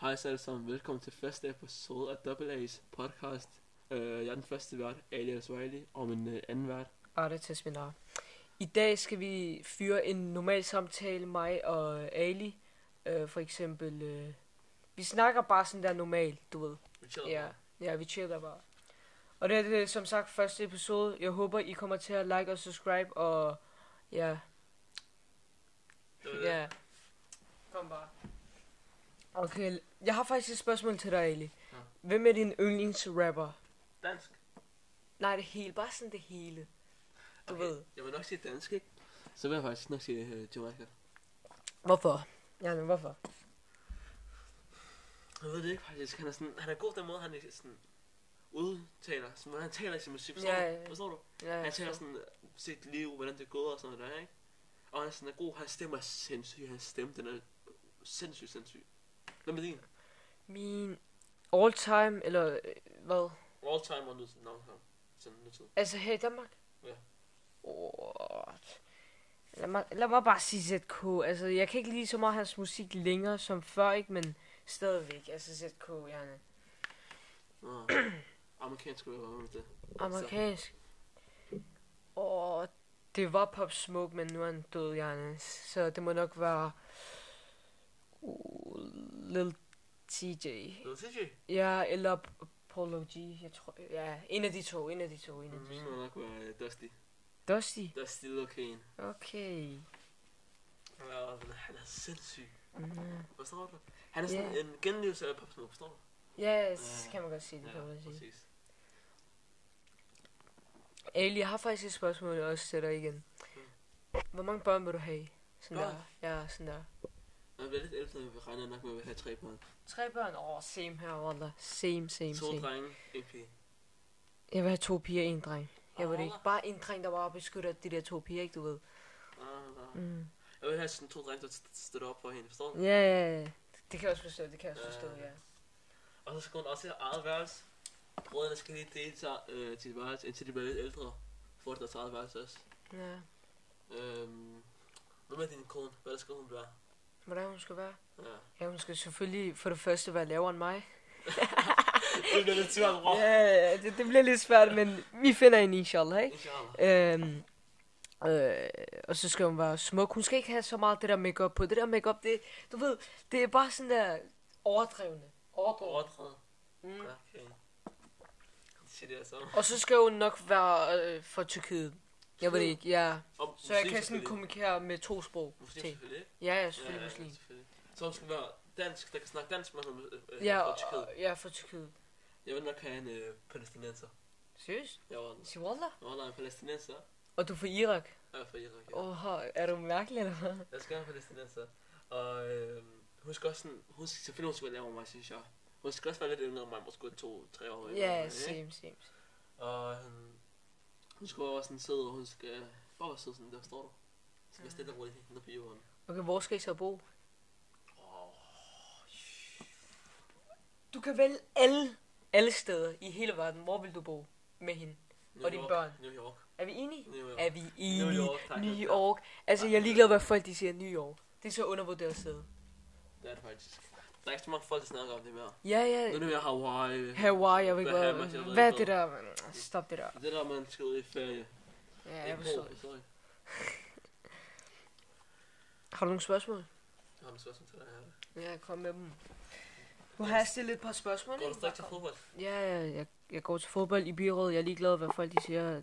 Hej så alle sammen, velkommen til første episode af Double A's podcast. Uh, jeg er den første vært, Ali Al og min uh, anden vært. Arne Tesminar. I dag skal vi fyre en normal samtale, mig og Ali. Øh, for eksempel, øh, vi snakker bare sådan der normalt, du ved. Ja, ja vi chiller bare. Og det er det, som sagt første episode. Jeg håber, I kommer til at like og subscribe, og ja, ja. Kom bare. Okay, jeg har faktisk et spørgsmål til dig, Ali. Ja. Hvem er din yndlingsrapper? Dansk. Nej, det hele. Bare sådan det hele. Du ved. Jeg vil nok sige dansk, ikke? Så vil jeg faktisk nok sige uh, Joe Michael. Hvorfor? Ja, men hvorfor? Jeg ved det ikke faktisk. Han er, sådan, han er god den måde, han er sådan udtaler. Som, han taler i sin musik, forstår, Ja, ja, du? ja. forstår du? Ja, Han taler sådan øh, sit liv, hvordan det er gået og sådan noget der, ikke? Og han er sådan er god, han stemmer sindssygt, hans stemme, den er sindssygt, sindssygt. Hvad med din? Min all time, eller øh, hvad? All time og nutid, navn her. Sådan nutid. Altså her i Danmark? Ja. Oh, lad, mig, lad mig bare sige ZK. Altså, jeg kan ikke lide så meget hans musik længere som før, ikke? Men stadigvæk, altså ZK, jeg Nå, amerikansk rapper, hvad med det? amerikansk. Åh, oh, det var Pop Smoke, men nu er han død, Janne. Så det må nok være... Uh, Lil TJ. Lil TJ? Ja, eller P- Polo G, jeg tror... Ja, en af de to, en af de to, en af de Min to. må nok være øh, Dusty. Dusty? Dusty Lil Kane. Okay. Ja, men han er sindssyg. Mm. Forstår du? Han er sådan Ja. en genlevelse af Pop Smoke, forstår du? Yes, Ja. kan man godt sige, det kan man godt sige. præcis. Ali, jeg har faktisk et spørgsmål også til dig igen. Hvor mange børn vil du have? Sådan Børn? der. Ja, sådan der. Når vi er lidt ældre, vi regner nok med at vi har tre børn. Tre børn? Åh, oh, same her, Wanda. Same, same, To same. drenge, en pige. Jeg vil have to piger, en dreng. Jeg vil det ikke. Wallah. Bare en dreng, der bare beskytter de der to piger, ikke du ved. Ah, ah. Mm. Jeg vil have sådan to drenge, der st- støtter op for hende, forstår du? Ja, ja, ja. Det kan jeg også forstå, det kan jeg også forstå, Ja. ja. Og så skal hun også have eget værelse. Brødrene skal lige dele sig, øh, sit værelse, indtil de bliver lidt ældre. Får deres eget værelse også. Ja. Øhm, hvad med din kone? Hvad skal hun være? Hvordan hun skal være? Ja. Ja, hun skal selvfølgelig for det første være lavere end mig. Det bliver lidt svært, bro. Ja, ja, det, det bliver lidt svært, men vi finder en inshallah, ikke? Inshallah. Øhm, øh, og så skal hun være smuk. Hun skal ikke have så meget det der makeup på. Det der makeup, det, du ved, det er bare sådan der overdrevne. Overdrevne. Overdrevet. Mm. Okay. Det siger det altså. Og så skal hun nok være øh, fra Tyrkiet. Jeg ved det ikke, ja. Og Så jeg muslim kan sådan selvfølgelig. kommunikere med to sprog. Muslim Ting. selvfølgelig, ikke? Ja, jeg er Ja, selvfølgelig ja, muslim. selvfølgelig. Så hun skal være dansk, der kan snakke dansk med ham. Øh, øh, Ja, fra Tyrkiet. og, ja, fra Tyrkiet. Jeg vil nok have en øh, palæstinenser. Seriøst? Jeg var en, Sig Wallah. jeg var en palæstinenser. Og du er fra Irak? Jeg er fra Irak. Ja. Åh, er du mærkelig eller hvad? Jeg skal have en palæstinenser. Og øh, hun skal også sådan, hun skal, selvfølgelig hun skal være lavere end mig, synes jeg. Hun skal også være lidt yngre end mig, måske to-tre år. yngre end mig, Ja, ikke? same, same. Og han, hun skal være sådan sød, og hun skal bare være sød sådan, der står du. Så jeg stille og roligt hende på jorden. Okay, hvor skal I så bo? Åh, Du kan vælge alle, alle steder i hele verden. Hvor vil du bo med hende? New Og dine York, børn. New York. Er vi enige? New York. Er vi enige? New York, tak. New York. Altså, jeg er ligeglad, hvad folk de siger New York. Det er så undervurderet sted. Det er det faktisk. Der er ikke så mange folk, der snakker om det mere. Ja, Nu er ja. det mere Hawaii. Hawaii, jeg ved ikke, Bahamas, hvad- jeg ved hvad er ikke det der? Stop det der. Det er der, man skal ud i ferie. Ja, Ikke jeg bo, forstår det. forstår jeg. Har du nogle spørgsmål? Jeg har en spørgsmål til dig her. Ja, kom med dem. Nu har jeg stillet et par spørgsmål, Går du stadig til fodbold? Ja, ja, jeg, jeg går til fodbold i byrådet. Jeg er ligeglad, hvad folk de siger.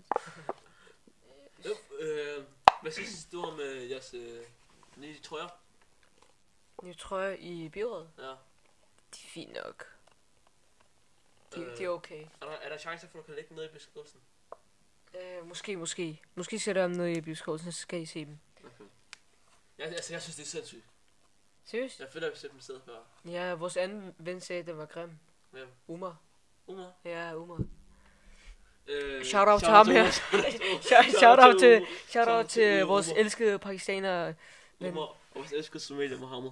Øv, øh, Hvad synes du om øh, jeres øh, nye trøjer? Jeg tror, jeg i byrådet, Ja. de er fint nok. De, Øh, de er okay. Er der, er der chancer for, at du kan lægge den ned i beskrivelsen? Øh, måske, måske. Måske sætter jeg dem ned i bioskolen, så skal I se dem. Okay. Jeg, altså, jeg synes, det er sindssygt. Seriøst? Jeg føler, at vi har set dem sidde før. Ja, vores anden ven sagde, at den var grim. Hvem? Umar. Umar? Ja, Umar. Øh, Shout out til ham her. Shout, shout out til, shout out til Umar. vores elskede pakistanere. Umar, og vores elskede somalier Mohammed.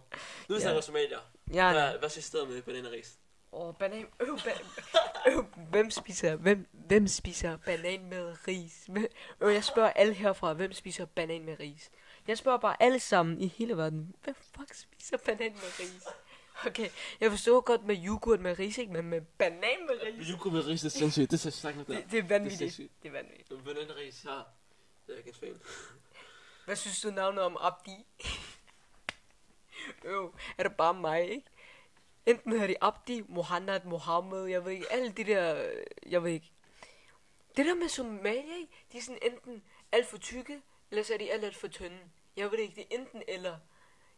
Nu snakker vi somalier. Ja, Hvad- Hvad synes du med bananaris? og banan. Øv, ba- øv, hvem spiser, hvem, hvem spiser banan med ris? Hvem- Øv, jeg spørger alle herfra, hvem spiser banan med ris? Jeg spørger bare alle sammen i hele verden, hvem fuck spiser banan med ris? Okay, jeg forstår godt med yoghurt med ris, ikke? Men med banan med ris. Yuko med ris, det er sindssygt. Det er snakken der. Det, det er vanvittigt. sindssygt. Det er vanvittigt. Bananris har... Det er jeg ikke en fan. Hvad synes du navnet om Abdi? Øv, er det bare mig, ikke? Enten hedder de Abdi, Mohammed, Mohammed, jeg ved ikke, alle de der, øh, jeg ved ikke. Det der med Somalia, ikke? De er sådan enten alt for tykke, eller så er de alt, alt for tynde. Jeg ved det ikke, det er enten eller.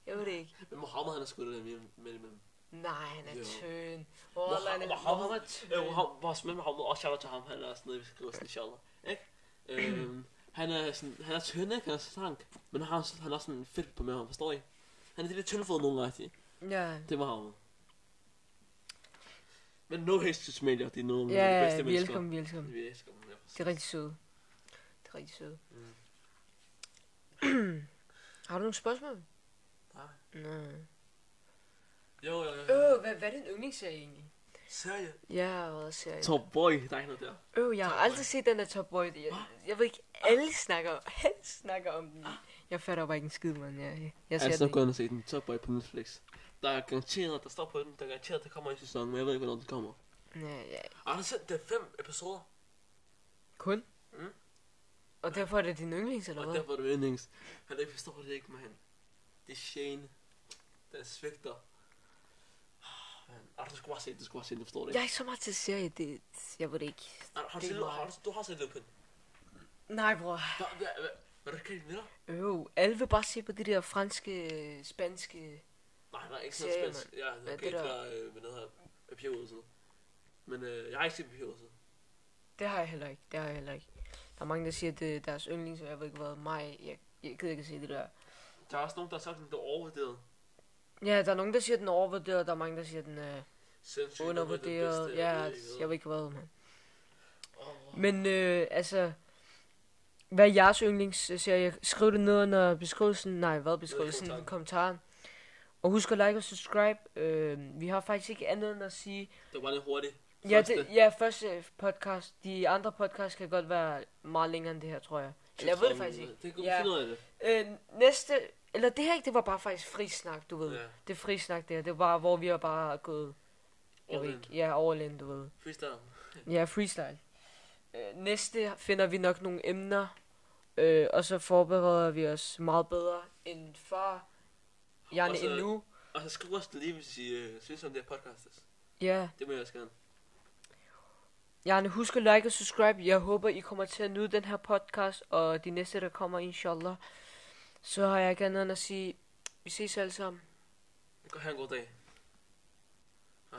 Jeg ved det ikke. Men Mohammed, han har sgu det der med imellem. Nej, han er Jo. tynd. Wallah, han er meget tynd. Øh, Mohammed, vores ven Mohammed, og shout out til ham, han er også nede, vi skriver sådan, inshallah. Ikke? Øhm, han er sådan, han er tynd, ikke? Han er slank. Men han har, han har sådan en fedt på maven, forstår I? Han er det lidt tyndfodet nogen rigtig. Ja, Det var Mohammed. Men no hate to Somalia, det er noget af de ja, bedste vi mennesker. elsker dem, vi elsker dem. Vi elsker dem, ja, præcis. Det er rigtig søde. Det er rigtig søde. Mm. Har du nogle spørgsmål? Nej. Nej. Jo, jo, jo. Øh, hvad, hvad er din yndlingsserie egentlig? Seriøst? Ja, hvad serie? Top boy, der er ikke noget der. Øh, jeg har Top Boy. aldrig set den der Top Boy. Jeg, jeg ved ikke, alle snakker, alle snakker om den. Jeg fatter bare ikke en skid, mand. Jeg, jeg ser Altså, den gå ind og se den. Top boy på Netflix. Der er garanteret, der står på den, der er garanteret, der kommer en sæson, men jeg ved ikke, hvornår den kommer. ikke. Ja, ja. Har du set, det er fem episoder? Kun? Mm. Og derfor er det din yndlings, eller Og hvad? derfor er det yndlings. Han ikke forstår det ikke, mand. Det er Shane. Den svigter. Ah, mand. Ej, du skulle bare se det, du skulle bare se det, du forstår det Jeg er ikke. ikke så meget til serie, det, jeg ved det ikke. Ej, Har du, det er set, mig. har du, du har set Lupin. Nej, bror. Hvad, hvad, hvad, hvad er det, kan I mere? Øh, alle vil bare se på de der franske, spanske... Nej, der er ikke sådan Serier, noget spændt. Ja, Hvad er okay, det det der? var, øh, hvad det hedder, papirhuset. Men øh, jeg har ikke set papirhuset. Det har jeg heller ikke, det har jeg heller ikke. Der er mange, der siger, at det er deres yndlings, og jeg ved ikke hvad. Mig, jeg, jeg gider ikke at se det der. Der er også nogen, der har sagt, at det er overvurderet. Ja, der er nogen, der siger, at den er overvurderet, og der er mange, der siger, at den er Sindssygt, undervurderet. Ja, altså, jeg ved ikke hvad, mand. Oh, Men øh, altså, hvad er jeres yndlingsserie? Skriv det ned under beskrivelsen. Nej, hvad beskrivelsen? kommentaren. kommentaren. Og husk at like og subscribe. Øh, vi har faktisk ikke andet end at sige... det var bare lidt hurtigt. Ja, Første. det, ja, første podcast. De andre podcasts kan godt være meget længere end det her, tror jeg. Eller jeg ved det faktisk ikke. Det kunne Ja. ja. finde ud af det. Øh, næste... Eller det her ikke, det var bare faktisk frisnak, du ved. Ja. Det er frisnak, det her. Det var, hvor vi har bare gået... Jeg ved All in. ikke. Ja, all in, du ved. Freestyle. Ja, freestyle. Øh, Næste finder vi nok nogle emner, øh, og så forbereder vi os meget bedre end før. Gerne Og så- endnu. Og så skriv os lige, hvis I øh, synes om det her podcast. altså. Ja, Det må jeg også gerne. gerne husk at like og subscribe. Jeg håber, I kommer til at nyde den her podcast, og de næste, der kommer, inshallah. Så har jeg gerne noget at sige, vi ses alle sammen. Gå- Ha' en god dag.